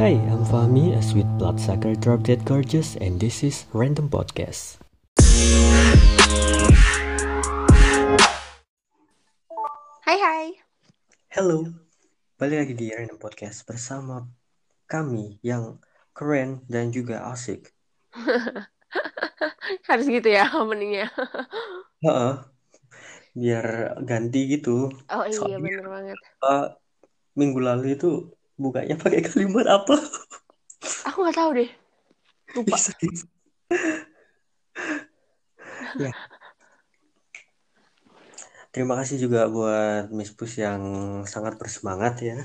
Hi, I'm Fahmi, a sweet bloodsucker drop dead gorgeous, and this is Random Podcast. Hai hai. Hello, balik lagi di Random Podcast bersama kami yang keren dan juga asik. Harus gitu ya openingnya. Heeh. Biar ganti gitu. Oh iya Soalnya- bener banget. Apa, minggu lalu itu bukanya pakai kalimat apa? Aku nggak tahu deh. Lupa. Ya. Terima kasih juga buat Miss Pus yang sangat bersemangat ya.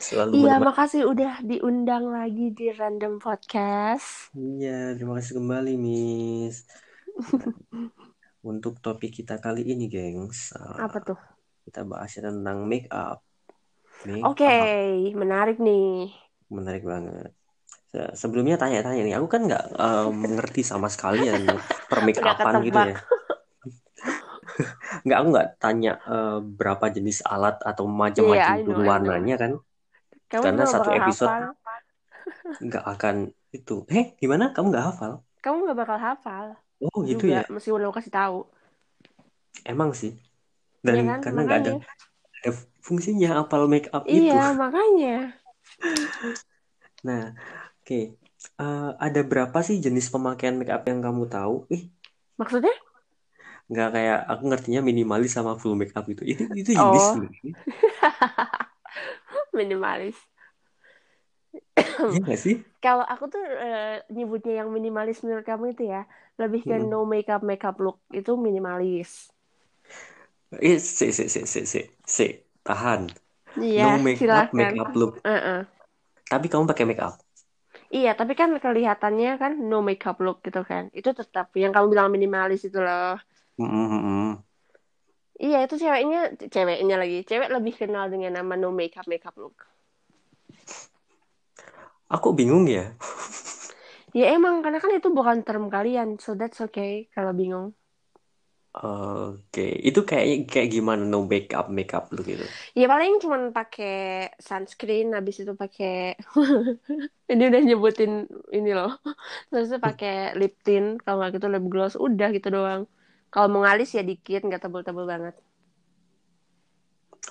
Selalu Iya menemani- makasih udah diundang lagi di Random Podcast. Iya, terima kasih kembali Miss. Untuk topik kita kali ini, gengs, uh, Apa tuh? kita bahasnya tentang make up. Make Oke, up. menarik nih. menarik banget. Se- Sebelumnya tanya-tanya nih, aku kan nggak uh, mengerti sama sekali ya tentang per make Udah upan gitu ketebak. ya. Nggak, aku nggak tanya uh, berapa jenis alat atau Iya, macam-macam I know, jenis I know. warnanya kan. Kamu Karena juga satu bakal episode- hafal. Nggak akan itu. Eh, gimana? Kamu nggak hafal? Kamu nggak bakal hafal Oh, gitu juga ya. meskipun aku kasih tahu. Emang sih. Iya Dan kan? karena nggak ada, Makanya. ada fungsinya apal make up itu. Iya, makanya. Nah, oke. Eh, ada berapa sih jenis pemakaian make up yang kamu tahu? Ih, Maksudnya? nggak kayak aku ngertinya minimalis sama full make up itu. Itu itu jenis Oh. nggak sih? Minimalis. Iya nggak sih? Kalau aku tuh eh, nyebutnya yang minimalis menurut kamu itu ya, lebih ke Mm. no makeup makeup look itu minimalis. Eh, si, si, si, si, si, si. Tahan. No Iya, make up, make silakan. up look. Heeh. Tapi kamu pakai make up. Iya, tapi kan kelihatannya kan no makeup look gitu kan. Itu tetap yang kamu bilang minimalis itu loh. Mm, mm, mm, mm. Iya, itu ceweknya ceweknya lagi. Cewek lebih kenal dengan nama no makeup makeup look. Aku bingung ya. Ya emang karena kan itu bukan term kalian, so that's okay kalau bingung. Oke, itu kayak kayak gimana no make up, make up look gitu. Ya paling cuman pakai sunscreen habis itu pakai ini udah nyebutin ini loh. Terus tuh pakai lip tint, kalau nggak gitu lip gloss, udah gitu doang. Kalau mau ngalis ya dikit, nggak tebel-tebel banget.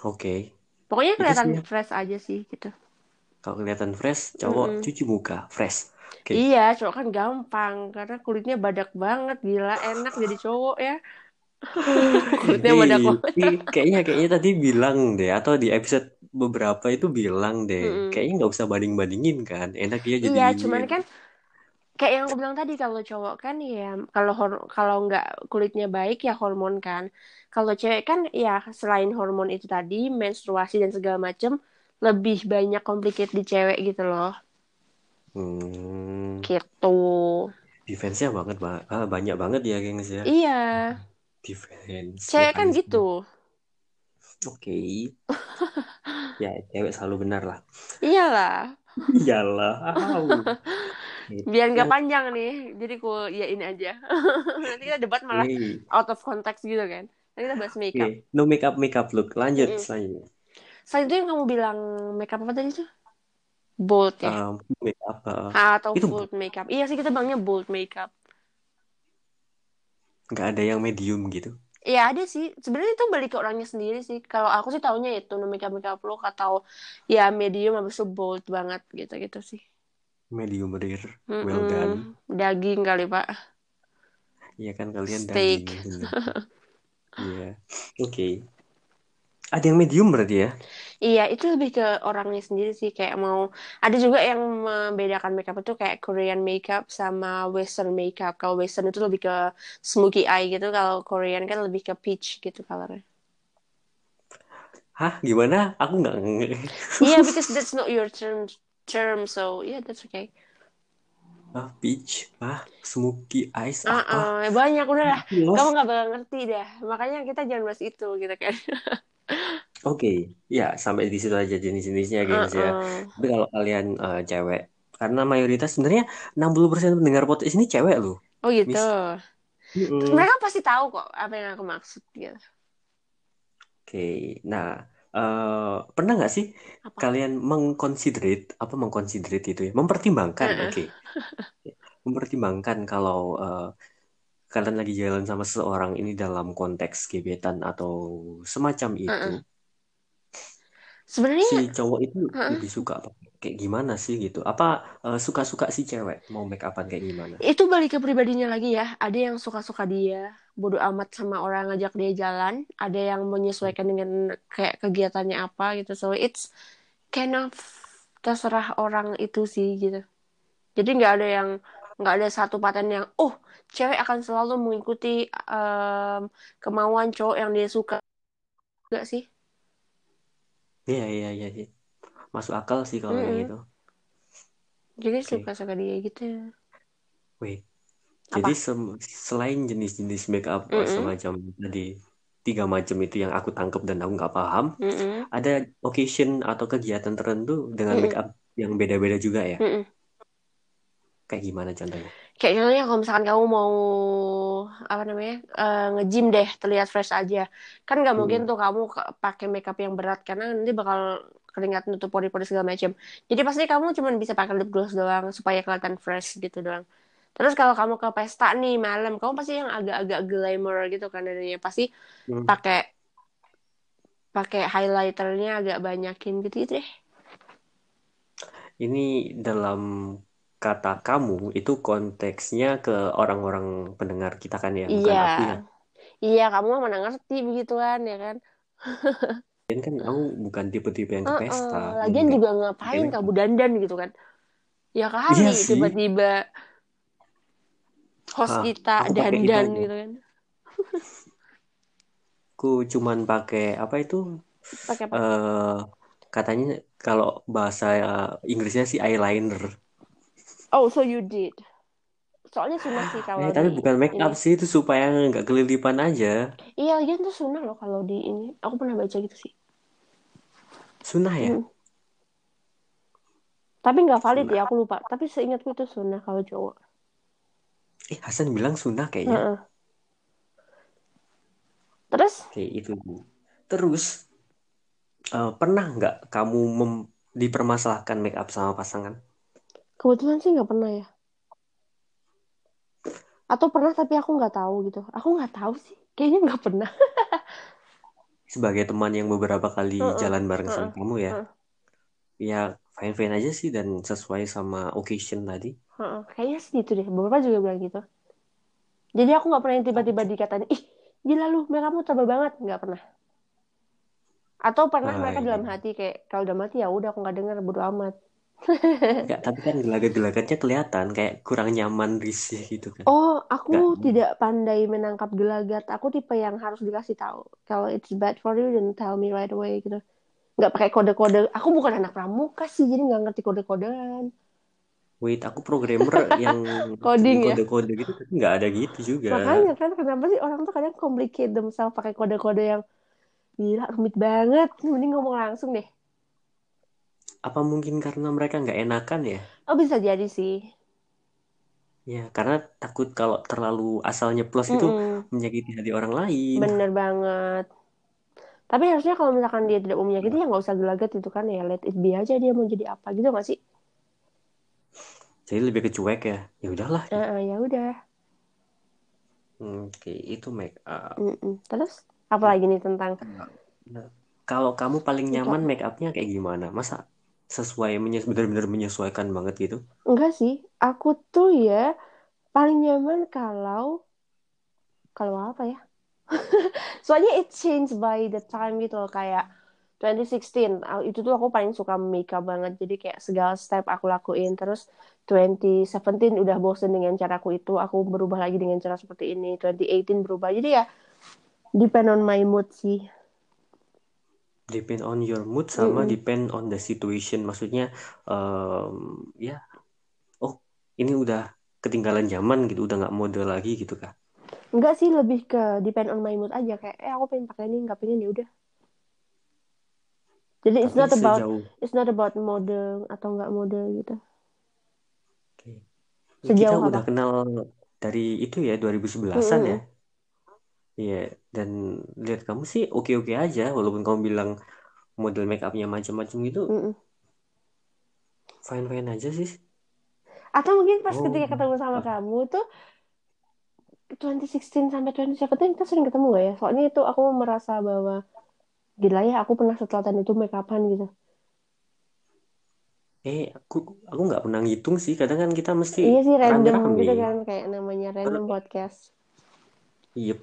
Oke, Pokoknya itu sih kelihatan ya. fresh aja sih gitu. Kalau kelihatan fresh, cowok Mm-mm. cuci muka fresh. Oke, Iya, cowok kan gampang karena kulitnya badak banget, gila enak jadi cowok ya. Kulitnya Ih, badak banget. ih, iya, kayaknya kayaknya tadi bilang deh atau di episode beberapa itu bilang deh, Mm-mm. kayaknya nggak usah banding bandingin kan, enak dia jadi ya. Iya, cuman kan kayak yang aku bilang tadi kalau cowok kan ya kalau hor- kalau nggak kulitnya baik ya hormon kan kalau cewek kan ya selain hormon itu tadi menstruasi dan segala macem lebih banyak komplikasi di cewek gitu loh hmm, gitu defense-nya banget ba- ah, banyak banget ya gengs ya, iya defense cewek kan gitu mekanisme. Oke, ya cewek selalu benar lah. iyalah Iyalah, au. biar nggak Yang panjang nih jadi ku yain aja nanti kita debat malah Oke, out of context gitu kan nanti kita bahas makeup oke. No make up, make up look. Lanjut Mm-mm. selanjutnya. selain itu yang kamu bilang makeup apa tadi tuh bold ya Um, make up uh, Atau itu bold makeup. Iya sih kita bilangnya bold makeup. nggak ada yang medium gitu. Iya ada sih. Sebenarnya itu balik ke orangnya sendiri sih. Kalau aku sih taunya itu no makeup makeup look atau ya medium habis itu bold banget gitu-gitu sih. Medium rare, well Mm-mm. done. Daging kali Pak. Iya kan kalian daging Steak. bener. Iya. Oke. Ada yang medium berarti ya? Iya itu lebih ke orangnya sendiri sih. Kayak mau ada juga yang membedakan makeup itu kayak Korean makeup sama Western makeup. Kalau Western itu lebih ke smoky eye gitu. Kalau Korean kan lebih ke peach gitu colornya. Hah, gimana? Aku nggak nge- Yeah, Iya, because that's not your term term, so yeah, that's okay. ah, peach, ah, smoky Ah, eyes, Uh apa? banyak udah lah. Kamu Lost. nggak bakal ngerti dah. Makanya kita jangan bahas itu gitu kan. Oke. Ya, sampai di situ aja jenis-jenisnya, gengs ya. Uh-uh. Tapi kalau kalian eh, cewek, karena mayoritas sebenarnya 60% pendengar podcast ini cewek loh. Oh gitu. Miss. Mm-mm. Mereka pasti tahu kok apa yang aku maksud gitu. Oke, nah eh pernah nggak sih apa? kalian mengconsiderate apa mengconsiderate itu ya mempertimbangkan oke Ya, mempertimbangkan kalau eh, kalian lagi jalan sama seseorang ini dalam konteks gebetan atau semacam itu Mm-mm. Sebenarnya si cowok itu Heeh. lebih suka apa kayak gimana sih gitu apa eh, suka-suka si cewek mau make upan kayak gimana itu balik ke pribadinya lagi ya. Ada yang suka-suka dia, bodo amat sama orang ngajak dia jalan. Ada yang menyesuaikan dengan kayak kegiatannya apa gitu. So it's kind of terserah orang itu sih gitu. Jadi nggak ada yang nggak ada satu paten yang oh cewek akan selalu mengikuti em, kemauan cowok yang dia suka enggak sih? iya iya iya iya. masuk akal sih kalau gitu. yang Mm-mm. itu Jadi oke suka-suka dia gitu. wait Apa? Jadi sem- selain jenis-jenis makeup eh, Mm-mm. semacam tadi tiga macam itu yang aku tangkap dan aku nggak paham, Mm-mm. ada occasion atau kegiatan tertentu dengan Mm-mm. makeup yang beda-beda juga ya? Mm-mm. Kayak gimana contohnya? Kayak contohnya kalau misalkan kamu mau apa namanya eh, nge-gym deh terlihat fresh aja kan nggak mungkin Mm-mm. tuh kamu ke- pakai makeup yang berat karena nanti bakal keringat nutup pori-pori segala macam jadi pasti kamu cuma bisa pakai lip gloss doang supaya kelihatan fresh gitu doang terus kalau kamu ke pesta nih malam kamu pasti yang agak-agak glamour gitu kan adanya pasti Hmm. pakai pakai highlighternya agak banyakin gitu gitu deh Ini dalam kata kamu itu konteksnya ke orang-orang pendengar kita kan ya, iya bukan aku ya. iya kamu mah mana ngerti begituan ya kan Dan kan aku bukan tipe-tipe yang ke Heeh, pesta, yang Eh, lagian nggak juga pakai ngapain kamu makeup. dandan gitu kan? Ya kali Iya sih, tiba-tiba host Hah, kita aku pakai itu dandan aja. gitu kan. Aku cuman pakai apa itu? Pakai apa? eh katanya kalau bahasa eh, Inggrisnya sih eyeliner. Oh, so you did. Soalnya sunnah sih kalau Eh di tapi bukan make ini. up sih itu supaya nggak kelilipan aja. Iya, lagian tuh sunnah loh kalau di ini. Aku pernah baca gitu sih. Sunnah ya? Mm. Tapi nggak valid ya, Sunnah. aku lupa. Tapi seingatku itu sunnah kalau cowok. Eh Hasan bilang sunnah kayaknya. Heeh. Terus? Oke itu. gitu, Terus eh, pernah nggak kamu mem- dipermasalahkan make up sama pasangan? Kebetulan sih nggak pernah ya. Atau pernah tapi aku nggak tahu gitu. Aku nggak tahu sih. Kayaknya nggak pernah. Sebagai teman yang beberapa kali Heeh, jalan bareng heeh, sama kamu ya, heeh, ya fine-fine aja sih dan sesuai sama occasion tadi. heeh. Kayaknya sih gitu deh. Beberapa juga bilang gitu. Jadi aku nggak pernah yang tiba-tiba dikatain, ih gila lu, mereka kamu tebal banget, nggak pernah. Atau pernah Ah, mereka dalam iya. hati kayak kalau dalam hati ya udah aku nggak dengar bodo amat. Eh. Enggak, tapi kan gelagat-gelagatnya kelihatan kayak kurang nyaman risih gitu kan. Oh, aku Enggak. tidak pandai menangkap gelagat. Aku tipe yang harus dikasih tahu. Kalau it's bad for you, then tell me right away gitu. Nggak pakai kode-kode. Aku bukan anak pramuka sih, jadi nggak ngerti kode-kodean. Wait, aku programmer yang sering Coding ya. kode-kode gitu, tapi nggak ada gitu juga. Makanya kan kenapa sih orang tuh kadang complicate themselves pakai kode-kode yang gila rumit banget. Mending ngomong langsung deh. Apa mungkin karena mereka nggak enakan ya? Oh bisa jadi sih. Ya, karena takut kalau terlalu asal nyeplos itu Mm-mm. menyakiti hati orang lain. Bener banget. Tapi harusnya kalau misalkan dia tidak mau menyakiti ya nggak usah gelagat itu kan ya let it be aja dia mau jadi apa gitu nggak sih? Jadi lebih ke cuek ya. Ya udahlah Eh, gitu. eh, ya udah. Hmm, Oke, itu make up. Mm-mm. Terus apa lagi nih tentang Nah, Kalau kamu paling make up? nyaman make upnya kayak gimana? Masa sesuai menyes- benar-benar menyesuaikan banget gitu? Enggak sih. Aku tuh ya paling nyaman kalau kalau apa ya? Soalnya it change by the time gitu loh kayak 2016 ah, itu tuh aku paling suka makeup banget jadi kayak segala step aku lakuin terus 2017 udah bosen dengan caraku itu aku berubah lagi dengan cara seperti ini 2018 berubah jadi ya depend on my mood sih Depend on your mood sama Mm-mm. depend on the situation. Maksudnya, em, ya oh ini udah ketinggalan zaman gitu udah nggak mode lagi gitu kah Enggak sih lebih ke depend on my mood aja kayak eh aku pengen pakai ini nggak pengen ya udah jadi tapi it's not about sejauh it's not about mode atau nggak mode gitu Oke. Ya, kita sejauh udah apa kenal dari itu ya 2011-an ya Mm-mm. iya dan lihat kamu sih oke oke aja walaupun kamu bilang model make upnya macam-macam gitu Mm-mm. fine fine aja sih Atau mungkin pas Oh. ketika ketemu sama kamu tuh 2016 sampai 2017 kita sering ketemu gak ya? Soalnya itu aku merasa bahwa gila ya aku pernah setelatan itu make upan gitu. eh aku aku nggak pernah ngitung sih kadang kan kita mesti Iya sih random rame-rame gitu kan kayak namanya random podcast. Yep.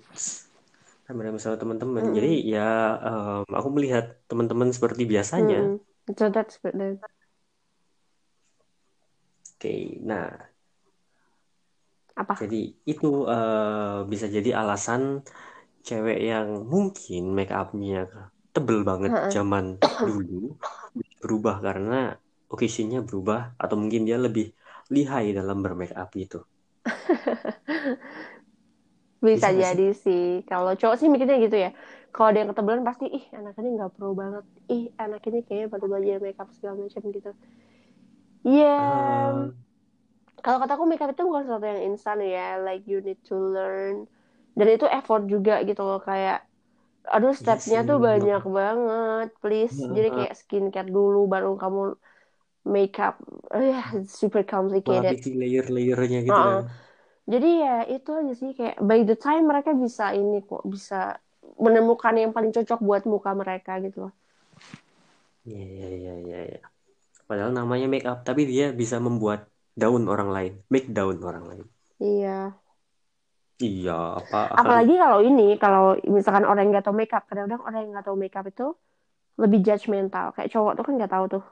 Rame-rame sama teman-teman Iya. Mm-mm. jadi ya em, aku melihat teman-teman seperti biasanya Mm-mm. So that's good then. oke nah Apa? jadi itu eh, bisa jadi alasan cewek yang mungkin make upnya tebel banget Ha-ha. zaman dulu berubah karena occasionnya berubah atau mungkin dia lebih lihai dalam bermake up gitu. itu Bisa Bisa nggak jadi sih. Kalau cowok sih mikirnya gitu ya. Kalau ada yang ketebelan pasti ih anak ini nggak pro banget. Ih anak ini kayaknya baru belajar makeup segala macam gitu. Iya. Ah, Kalau kataku makeup itu bukan sesuatu yang instan ya. Like you need to learn. Dan itu effort juga gitu loh kayak aduh stepnya Iya sih, tuh bener. banyak banget please Iya. jadi kayak skincare dulu baru kamu makeup eh super complicated melapisi layer-layernya gitu Uh-uh. kan Jadi ya itu aja sih kayak by the time mereka bisa ini kok bisa menemukan yang paling cocok buat muka mereka gitu loh. Iya, iya, iya, iya, iya. Padahal namanya make up, tapi dia bisa membuat down orang lain, make down orang lain. Iya. Iya, apaan? Apalagi kalau ini kalau misalkan orang yang nggak tahu makeup, kadang-kadang orang yang nggak tahu makeup itu lebih judgmental. Kayak cowok tuh kan nggak tahu tuh.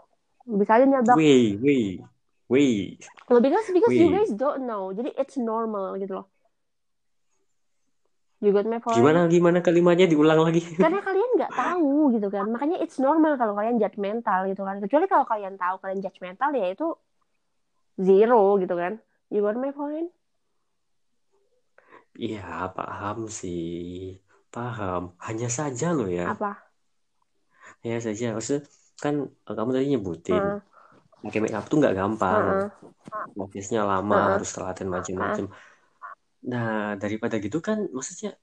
Bisa aja nyabak. Wait, wait, wait. Well, because because you Wih. guys don't know. Jadi it's normal gitu loh. You got my point? Gimana, gimana kalimatnya diulang lagi? karena kalian nggak tahu gitu kan makanya it's normal kalau kalian judgmental gitu kan kecuali kalau kalian tahu kalian judgmental ya itu zero gitu kan you got my point Iya, paham sih. Paham. Hanya saja loh ya. apa Hanya saja. Maksudnya, kan eh, kamu tadi nyebutin, Heeh, pakai make up tuh nggak gampang. heeh. Prosesnya lama, Heeh. harus telaten macam-macam. Nah, daripada gitu kan, maksudnya,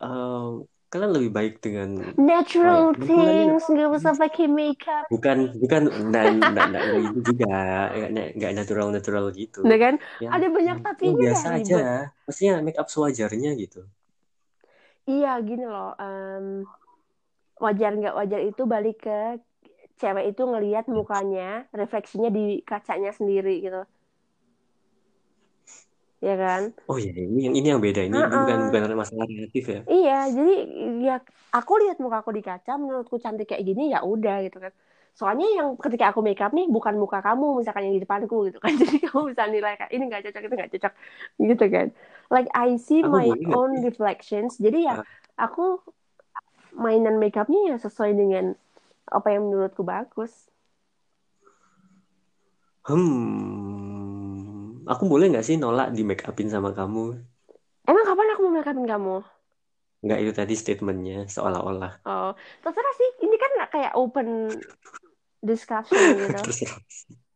eh, kalian lebih baik dengan natural Baik. things nggak usah pakai makeup bukan bukan dan dan itu gitu juga nggak natural natural gitu Nah kan Yang- ada banyak yang tapinya biasa dah, aja ribet. maksudnya make up sewajarnya gitu iya gini loh em, wajar nggak wajar itu balik ke cewek itu ngelihat mukanya refleksinya di kacanya sendiri gitu ya kan oh ya ini yang ini yang beda ini Heeh. bukan bukan masalah relatif ya Iya, jadi ya aku lihat muka aku di kaca, menurutku cantik kayak gini ya udah gitu kan. Soalnya yang ketika aku make up nih bukan muka kamu misalkan yang di depanku gitu kan. Jadi kamu bisa nilai kayak ini nggak cocok, itu nggak cocok gitu kan. Like I see Aku my boleh nggak own sih? reflections. Jadi ya Ah. aku mainan make upnya ya sesuai dengan apa yang menurutku bagus. hmm aku boleh nggak sih nolak di make upin sama kamu Emang kapan aku mau make upin kamu? nggak itu tadi statementnya seolah-olah Oh, terserah sih. Ini kan kayak open discussion gitu. terserah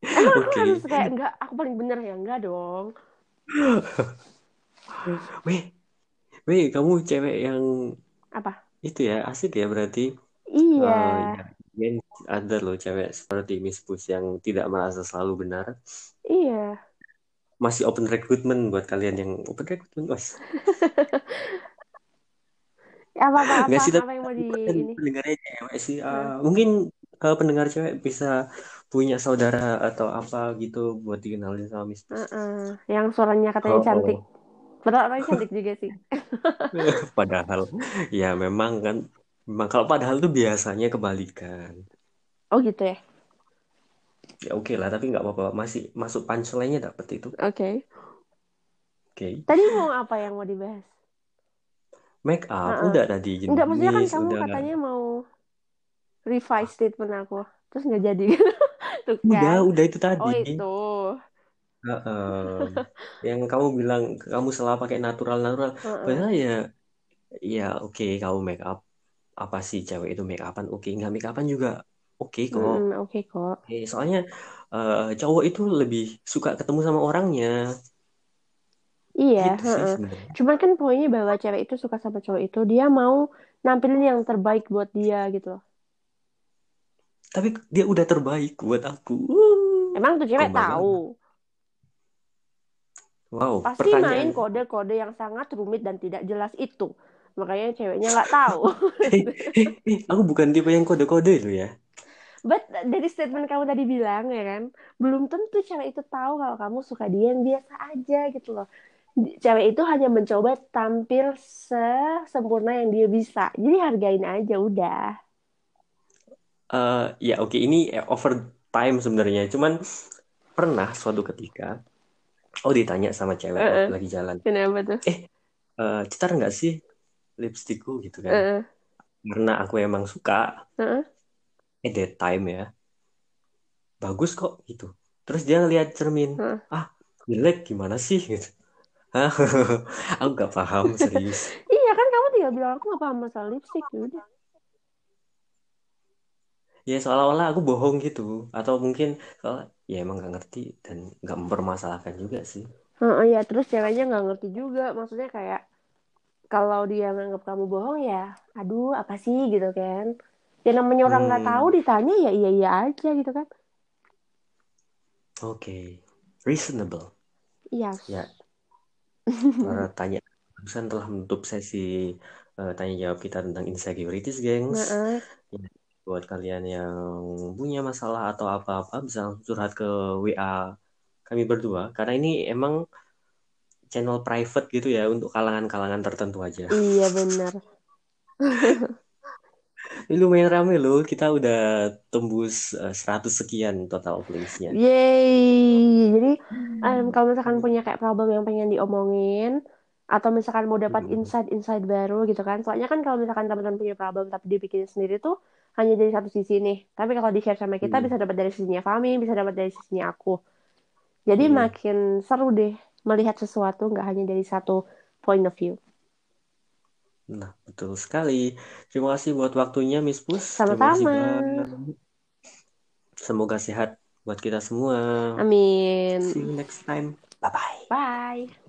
Emang aku Oke. harus kayak enggak, aku paling bener ya enggak dong. weh weh kamu cewek yang Apa? itu ya asik ya berarti Iya. Eh, ya, mungkin ada loh cewek seperti Miss Pus yang tidak merasa selalu benar. Iya, Masih open recruitment buat kalian yang open recruitment, guys. apa apa apa, Enggak sih, tapi apa yang mau di bukan ini? pendengarnya cewek sih. Eh, Hah? mungkin eh, pendengar cewek bisa punya saudara atau apa gitu buat dikenalin sama Miss Pus. Heeh. Yang suaranya katanya Oh, cantik. Padahal orangnya cantik juga sih. Padahal, ya memang kan, memang kalau padahal tuh biasanya kebalikan. Oh gitu ya. Ya oke lah, tapi nggak apa-apa. Masih masuk punchline-nya dapet itu. Oke. Oke. Tadi mau apa yang mau dibahas? Make up, Heeh. udah tadi Enggak, maksudnya kan jenis, kamu udah katanya mau revise statement aku. Terus nggak jadi. Tuh Udah, kan. udah itu tadi. Oh itu. Heeh. yang kamu bilang kamu salah pakai natural-natural. Heeh. Padahal ya, ya oke kamu make up. Apa sih cewek itu make upan? Oke, nggak make upan juga oke kok. Mm-mm, Hmm, Oke kok. Oke, soalnya eh, cowok itu lebih suka ketemu sama orangnya. Iya, Gitu sih heeh. sebenarnya. Cuman kan poinnya bahwa cewek itu suka sama cowok itu, dia mau nampilin yang terbaik buat dia gitu loh. tapi dia udah terbaik buat aku. Emang tuh cewek Kembangan. tahu. Wow, Pasti main pertanyaan. kode-kode yang sangat rumit dan tidak jelas itu. Makanya ceweknya nggak tahu. Ih, Eh, aku bukan tipe yang kode-kode lu ya. But dari statement kamu tadi bilang ya kan, belum tentu cewek itu tahu kalau kamu suka dia yang biasa aja gitu loh. Cewek itu hanya mencoba tampil sesempurna yang dia bisa. Jadi hargain aja udah. Eh, ya oke ini eh, overtime sebenarnya. Cuman pernah suatu ketika, oh ditanya sama cewek Eh, eh. waktu lagi jalan, Kenapa tuh? Eh, cetar nggak sih lipstikku gitu kan? Heeh. Karena aku emang suka. Heeh. At that time ya, bagus kok gitu. Terus dia ngeliat cermin, Heeh. ah jelek gimana sih gitu. Hah? aku nggak paham serius. Iya kan kamu tinggal bilang aku nggak paham masalah lipstick ya udah. Ya seolah-olah aku bohong gitu, atau mungkin seolah- ya emang nggak ngerti dan nggak mempermasalahkan juga sih. Heeh, ya terus ceweknya nggak ngerti juga. Maksudnya kayak kalau dia nganggap kamu bohong ya, aduh apa sih gitu kan. Ya namanya orang nggak Hmm. tahu ditanya ya iya iya aja gitu kan. Oke, reasonable. Iya. Ya. Para tanya barusan telah menutup sesi eh, tanya jawab kita tentang insecurities, gengs. Heeh. Buat kalian yang punya masalah atau apa-apa bisa langsung curhat ke WA kami berdua karena ini emang channel private gitu ya untuk kalangan-kalangan tertentu aja. Iya benar. Ini lumayan rame loh, kita udah tembus eh, 100 sekian total plays-nya. Yeay. Jadi em, Hmm. kalau misalkan punya kayak problem yang pengen diomongin atau misalkan mau dapat Hmm. insight-insight baru gitu kan. Soalnya kan kalau misalkan teman-teman punya problem tapi dibikin sendiri tuh hanya dari satu sisi nih. Tapi kalau di-share sama kita Hmm. bisa dapat dari sisinya Fami, bisa dapat dari sisinya aku. Jadi Hmm. makin seru deh melihat sesuatu nggak hanya dari satu point of view. Nah, betul sekali. Terima kasih buat waktunya, Miss Pus. Terima kasih Sama-sama. banyak. Semoga sehat buat kita semua. Amin. Hmm. See you next time. Bye-bye. Bye.